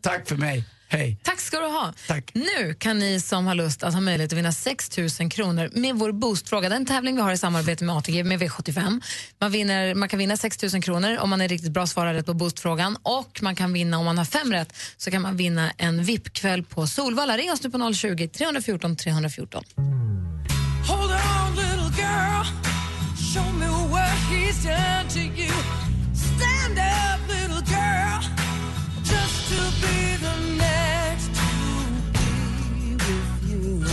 Speaker 8: Tack för mig, hej.
Speaker 4: Tack ska du ha. Nu kan ni som har lust att ha möjlighet att vinna 6 000 kronor med vår boostfråga. Den tävling vi har i samarbete med ATG med V75. Man, vinner, man kan vinna 6 000 kronor om man är riktigt bra svarare på boostfrågan och man kan vinna om man har fem rätt så kan man vinna en VIP-kväll på Solvalla. Ring oss nu på 020 314 314.
Speaker 13: Hold on, little girl. Show me what he's done to you. Stand up, little girl. Just to be the next to be with you.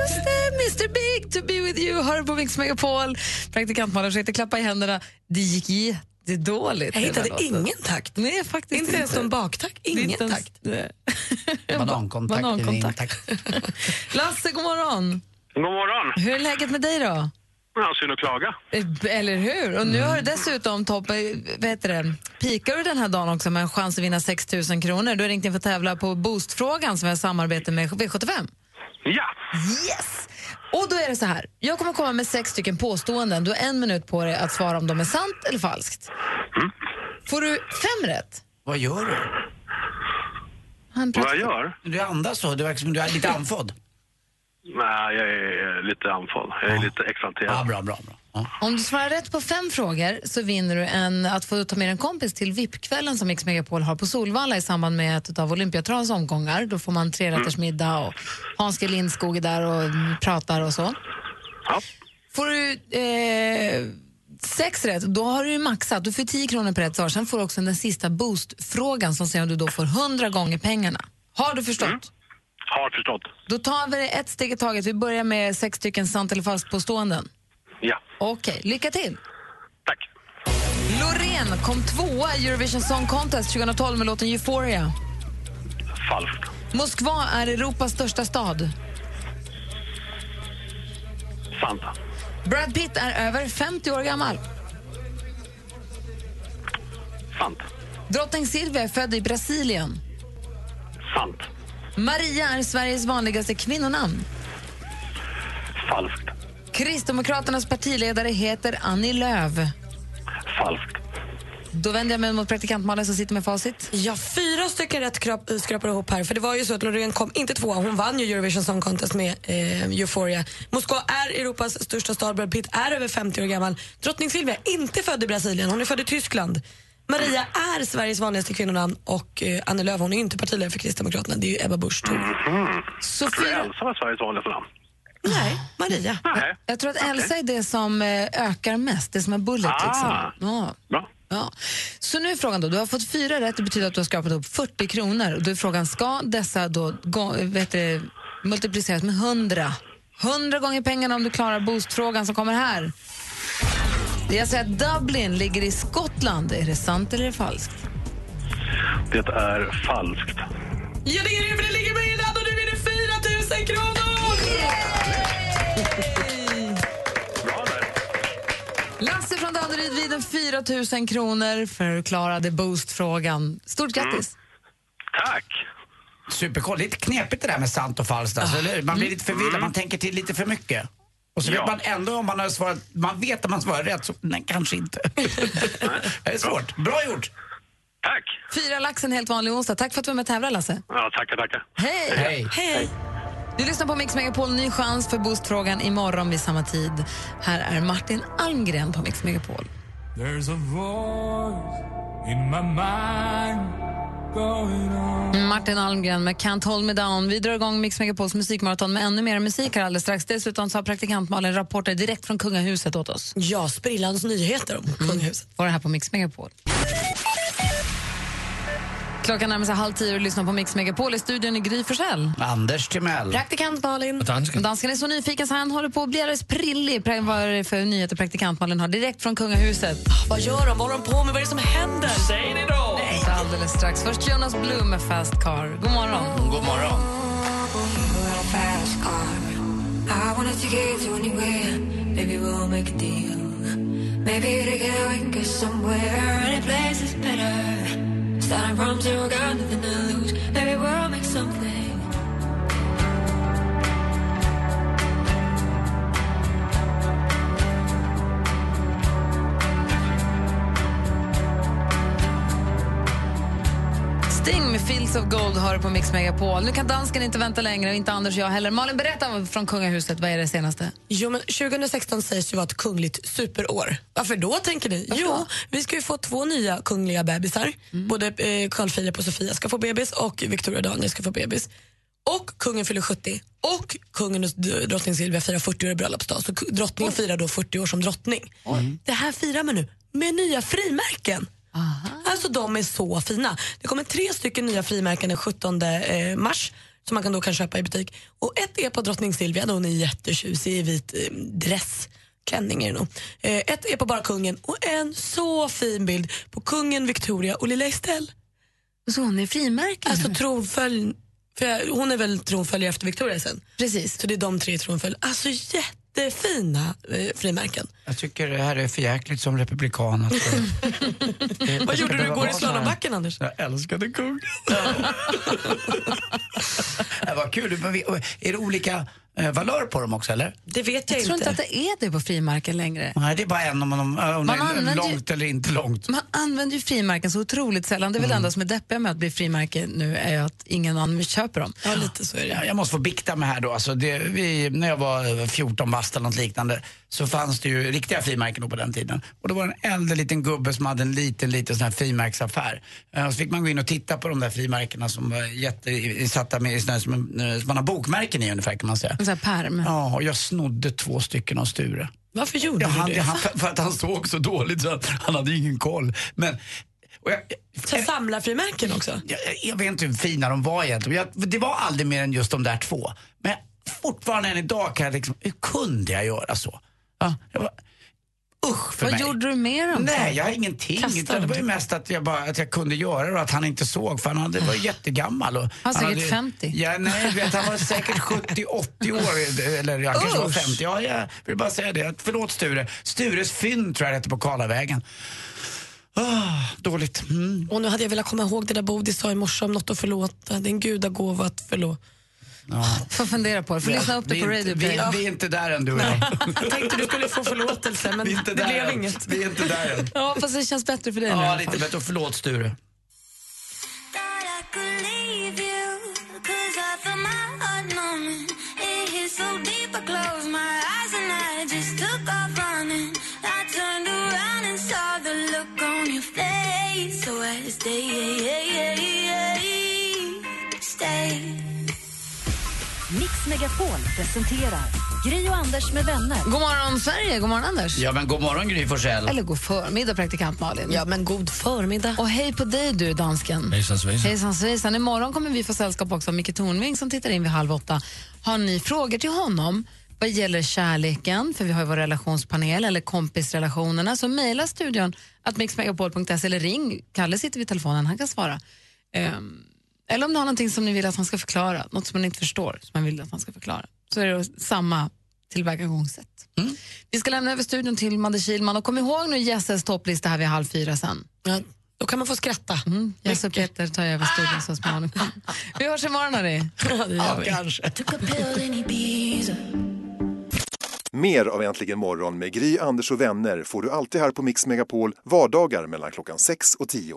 Speaker 4: Just det, Mr Big to be with you har du på Mix Megapol. Praktikantmannen försökte klappa i händerna. Det gick jättedåligt.
Speaker 5: Jag hittade
Speaker 4: Det där
Speaker 5: ingen
Speaker 4: låten.
Speaker 5: takt.
Speaker 4: Nej, faktiskt
Speaker 5: Inte ens någon baktakt.
Speaker 4: Det är
Speaker 5: Ingen
Speaker 4: inte ens-
Speaker 5: takt.
Speaker 4: Nej.
Speaker 8: Banankontakt.
Speaker 4: Banankontakt. *laughs* Lasse, god morgon.
Speaker 7: God morgon!
Speaker 4: Hur är läget med dig då?
Speaker 7: Ja, synd att klaga.
Speaker 4: Eh, Eller hur? Och nu har du dessutom topp, eh, vad heter det, pikar du den här dagen också med en chans att vinna 6 000 kronor. Du har ringt in för att tävla på Boostfrågan som är ett samarbete med V75.
Speaker 7: Ja!
Speaker 4: Yes! Och då är det så här, jag kommer komma med sex stycken påståenden. Du har en minut på dig att svara om de är sant eller falskt. Får du fem rätt?
Speaker 8: Vad gör du?
Speaker 4: Han
Speaker 7: Vad jag gör?
Speaker 8: Du andas så, det verkar som du är lite andfådd.
Speaker 7: Nej, jag är lite andfådd. Jag är lite exalterad.
Speaker 8: Ja, Ah, bra, bra, bra.
Speaker 4: Om du svarar rätt på fem frågor så vinner du en, att få ta med en kompis till VIP-kvällen som Mix Megapol har på Solvalla i samband med ett av Olympiatrons omgångar. Då får man tre rätters middag och Hans G. Lindskog är där och mm, pratar och så. Får du eh, sex rätt, då har du ju maxat. Du får 10 kronor per rätt svar. Sen får du också den sista boost-frågan som säger om du då får 100 gånger pengarna. Har du förstått?
Speaker 7: Har förstått.
Speaker 4: Då tar vi det ett steg i taget. Vi börjar med sex stycken sant eller falskt påståenden.
Speaker 7: Ja.
Speaker 4: Okej, lycka till. Tack. Loreen kom tvåa i Eurovision Song Contest 2012 med låten Euphoria.
Speaker 7: Falskt.
Speaker 4: Moskva är Europas största stad.
Speaker 7: Fanta.
Speaker 4: Brad Pitt är över 50 år gammal.
Speaker 7: Sant.
Speaker 4: Drottning Silvia är född i Brasilien.
Speaker 7: Sant.
Speaker 4: Maria är Sveriges vanligaste kvinnonamn.
Speaker 7: Falskt.
Speaker 4: Kristdemokraternas partiledare heter Annie Lööf.
Speaker 7: Falskt.
Speaker 4: Då vänder jag mig mot praktikant Malin som sitter med facit.
Speaker 5: Ja, fyra stycken rätt krap, skrapar ihop här. För det var ju så att Loreen kom inte tvåa, hon vann ju Eurovision Song Contest med eh, Euphoria. Moskva är Europas största stad, Brad Pitt är över 50 år gammal. Drottning Silvia är inte född i Brasilien, hon är född i Tyskland. Maria är Sveriges vanligaste kvinnonamn och eh, Annie Lööf, hon är ju inte partiledare för Kristdemokraterna, det är ju Ebba Busch tur.
Speaker 7: Mhm.
Speaker 4: Sofia...
Speaker 7: Det är Elsa var Sveriges vanligaste namn.
Speaker 5: Nej, Maria.
Speaker 4: Jag tror att Elsa är det som eh, ökar mest, det som är bullet.
Speaker 7: Ah.
Speaker 4: Liksom. Ja. Ja. Så nu är frågan då, du har fått fyra rätt, det betyder att du har skapat upp 40 kronor. Och då är frågan, ska dessa då gå, vet du, multipliceras med 100? 100 gånger pengarna om du klarar boostfrågan som kommer här. Jag säger att Dublin ligger i Skottland. Är det sant eller är det falskt?
Speaker 7: Det är falskt.
Speaker 5: Ja, det är det, men det ligger med Irland och nu är det 4 000 kronor!
Speaker 4: Lasse från Danderyd vinner 4 000 kronor för att klara det boostfrågan. Stort grattis!
Speaker 5: Mm.
Speaker 8: Superkoll. Lite knepigt det där med sant och falskt. Alltså, eller hur? Man
Speaker 5: Mm.
Speaker 8: blir lite förvirrad, man tänker till lite för mycket. Och så
Speaker 7: Ja.
Speaker 8: vet man ändå om man har svarat, man vet att man svarar rätt, så nej,
Speaker 5: *laughs*
Speaker 8: kanske inte. det är svårt. Bra gjort!
Speaker 4: Fyra lax en helt vanlig onsdag. Tack för att du var med och tävlade, Lasse.
Speaker 7: Ja, tackar, tackar.
Speaker 4: Hej!
Speaker 7: Hej.
Speaker 4: Hej. Du lyssnar på Mix Megapol, ny chans för boostfrågan imorgon vid samma tid. Här är Martin Almgren på Mix Megapol.
Speaker 13: There's a voice in my mind going on.
Speaker 4: Martin Almgren med Can't hold me down. Vi drar igång Mix Megapols musikmaraton med ännu mer musik här alldeles strax. Dessutom så har praktikant Malin rapporter direkt från kungahuset åt oss.
Speaker 5: Ja, sprillans nyheter om kungahuset.
Speaker 4: Var det här på Mix Megapol. Klockan närmar sig halv tio och lyssnar på Mix Megapol i studion i Gry Forssell.
Speaker 8: Anders Timell.
Speaker 4: Praktikant Malin.
Speaker 8: dansken.
Speaker 4: Dansken är så nyfiken så han håller på att bli alldeles prillig. Pra- Vad är det för nyheter praktikant Malin har direkt från kungahuset?
Speaker 5: Vad gör de? Vad håller de på med? Vad är det som händer? Säg det då! Nej.
Speaker 4: Så Alldeles strax. Först Jonas Blum med Fast Car. God morgon.
Speaker 8: God morgon.
Speaker 13: I wanna take you anywhere. Maybe we'll make a deal. Maybe together we can get somewhere. Any place is better. Starting from zero, got nothing to lose. Maybe we'll make something.
Speaker 4: Sting med Fields of Gold har du på Mix Megapol. Nu kan dansken inte vänta längre, och inte Anders och jag heller. Malin, berätta från kungahuset. Vad är det senaste?
Speaker 5: Jo, men 2016 sägs ju vara ett kungligt superår. Varför då, tänker ni? Jo, vi ska ju få två nya kungliga bebisar. Både eh, Carl Philip och Sofia ska få bebis och Victoria och Daniel ska få bebis. Och kungen fyller 70 och kungen och dr- drottning Silvia firar 40 år i bröllopsdag. Så ku- drottningen firar då 40 år som drottning. Mm. Det här firar man nu med nya frimärken. Alltså de är så fina. Det kommer tre stycken nya frimärken den 17 eh, mars som man kan då kan köpa i butik. Och ett är på drottning Silvia, då hon är jättetjusig i vit eh, dress. Klänning är det nog. Eh, ett är på bara kungen och en så fin bild på kungen, Victoria och lilla Estelle.
Speaker 4: Så hon är frimärken?
Speaker 5: Alltså tronfölj... För jag- hon är väl tronföljare efter Victoria sen?
Speaker 4: Precis.
Speaker 5: Så det är de tre i tronfölj. Alltså jättefina eh, frimärken.
Speaker 8: Jag tycker det här är för jäkligt som republikan. alltså. Att,
Speaker 5: *laughs* Vad gjorde du igår i slalombacken Anders?
Speaker 8: Jag älskade kung. *laughs* det var kul. Men vi- Är det olika eh, valör på dem också eller?
Speaker 5: Det vet
Speaker 4: jag, tror inte att det är det på frimärken längre.
Speaker 8: Nej, det är bara en om, om, om det är
Speaker 4: använder ju-
Speaker 8: långt eller inte långt.
Speaker 4: Man använder ju frimärken så otroligt sällan. Det är väl
Speaker 8: Mm.
Speaker 4: det enda som är deppiga med att bli frimärke nu är ju att ingen annan köper dem.
Speaker 5: Ja, lite så är
Speaker 8: Ja, Jag måste få bikta mig här då. Alltså det, vi, när jag var eh, 14 bast eller något liknande så fanns det ju riktiga frimärken då på den tiden. Och då var det en äldre liten gubbe som hade en liten, liten sån här frimärksaffär. Eh, Och så fick man gå in och titta på de där frimärkena som var jätte, satta med, i såna här som, eh, som man har bokmärken i ungefär kan man säga.
Speaker 4: En sån här pärm.
Speaker 8: Ja, och jag snodde två stycken av Sture.
Speaker 5: Varför gjorde
Speaker 8: ja, han,
Speaker 5: du det?
Speaker 8: Han, för, för att han såg så dåligt så att han hade ingen koll. Men, och jag,
Speaker 5: Så samlarfrimärken också?
Speaker 8: Jag, jag- jag vet inte hur fina de var egentligen. Jag, det var aldrig mer än just de där två. Men jag, fortfarande än idag kan jag liksom, hur kunde jag göra så? Ja, jag var usch för
Speaker 4: Vad
Speaker 8: mig.
Speaker 4: gjorde du med dem?
Speaker 8: Nej, jag har ingenting.
Speaker 4: Kastade
Speaker 8: Utan det
Speaker 4: dem.
Speaker 8: var ju mest att jag, bara, att jag kunde göra det och att han inte såg för han hade, var ju jättegammal. Och
Speaker 4: Ah. Han var säkert
Speaker 8: hade,
Speaker 4: 50.
Speaker 8: Ja, nej, vet, han var
Speaker 4: *laughs*
Speaker 8: säkert 70-80 år. Eller jag kanske var
Speaker 4: Usch.
Speaker 8: 50. Ja, jag vill bara säga det. Att- Förlåt Sture. Stures fynd tror jag det heter på Karlavägen. Ah, dåligt. Mm.
Speaker 5: Och nu hade jag velat komma ihåg det där Bodis sa i morse om något att förlåta. Det är en gudagåva att förlåta.
Speaker 8: Ja.
Speaker 4: Får fundera på det. Får
Speaker 8: Vi-
Speaker 4: lyssna upp det
Speaker 8: vi
Speaker 4: på
Speaker 8: är
Speaker 4: Radio
Speaker 8: inte-
Speaker 4: Play.
Speaker 8: vi, vi är inte där än du och jag.
Speaker 5: Jag tänkte du skulle få förlåtelse men
Speaker 8: Vi är inte
Speaker 5: det
Speaker 8: där
Speaker 5: blev
Speaker 8: än.
Speaker 5: inget.
Speaker 8: Vi är inte där än.
Speaker 4: Ja, fast det känns bättre för dig nu. i
Speaker 8: Ja,
Speaker 4: alla
Speaker 8: lite
Speaker 4: fall.
Speaker 8: bättre. Förlåt Sture.
Speaker 3: Mix Megapol presenterar Gri och Anders med vänner.
Speaker 4: God morgon, Sverige. God morgon, Anders.
Speaker 8: Ja, men god morgon Gry Forssell.
Speaker 4: Eller god förmiddag, praktikant Malin.
Speaker 5: Ja, men god förmiddag.
Speaker 4: Och hej på dig, du dansken.
Speaker 6: Hejsan svejsan.
Speaker 4: Hejsan svejsan. Imorgon kommer vi få sällskap också av Micke Tornving som tittar in vid halv åtta. Har ni frågor till honom vad gäller kärleken, för vi har ju vår relationspanel, eller kompisrelationerna, så mejla studion att mixmegapol.se eller ring. Kalle sitter vid telefonen, han kan svara. Ehm, eller om du har någonting som ni vill att han ska förklara, något som man inte förstår, som man vill att han ska förklara, så är det samma tillvägagångssätt. Vi ska lämna över studion till Madde Kihlman och kom ihåg nu Jesses topplista här vid halv fyra sen.
Speaker 5: Ja, då kan man få skratta.
Speaker 4: Mm. Jesse och Peter tar över studion så småningom. Vi hörs imorgon hörni.
Speaker 8: Ja, kanske.
Speaker 14: Mer av Äntligen morgon med Gry, Anders och vänner får du alltid här på Mix Megapol vardagar mellan klockan 6 och 10.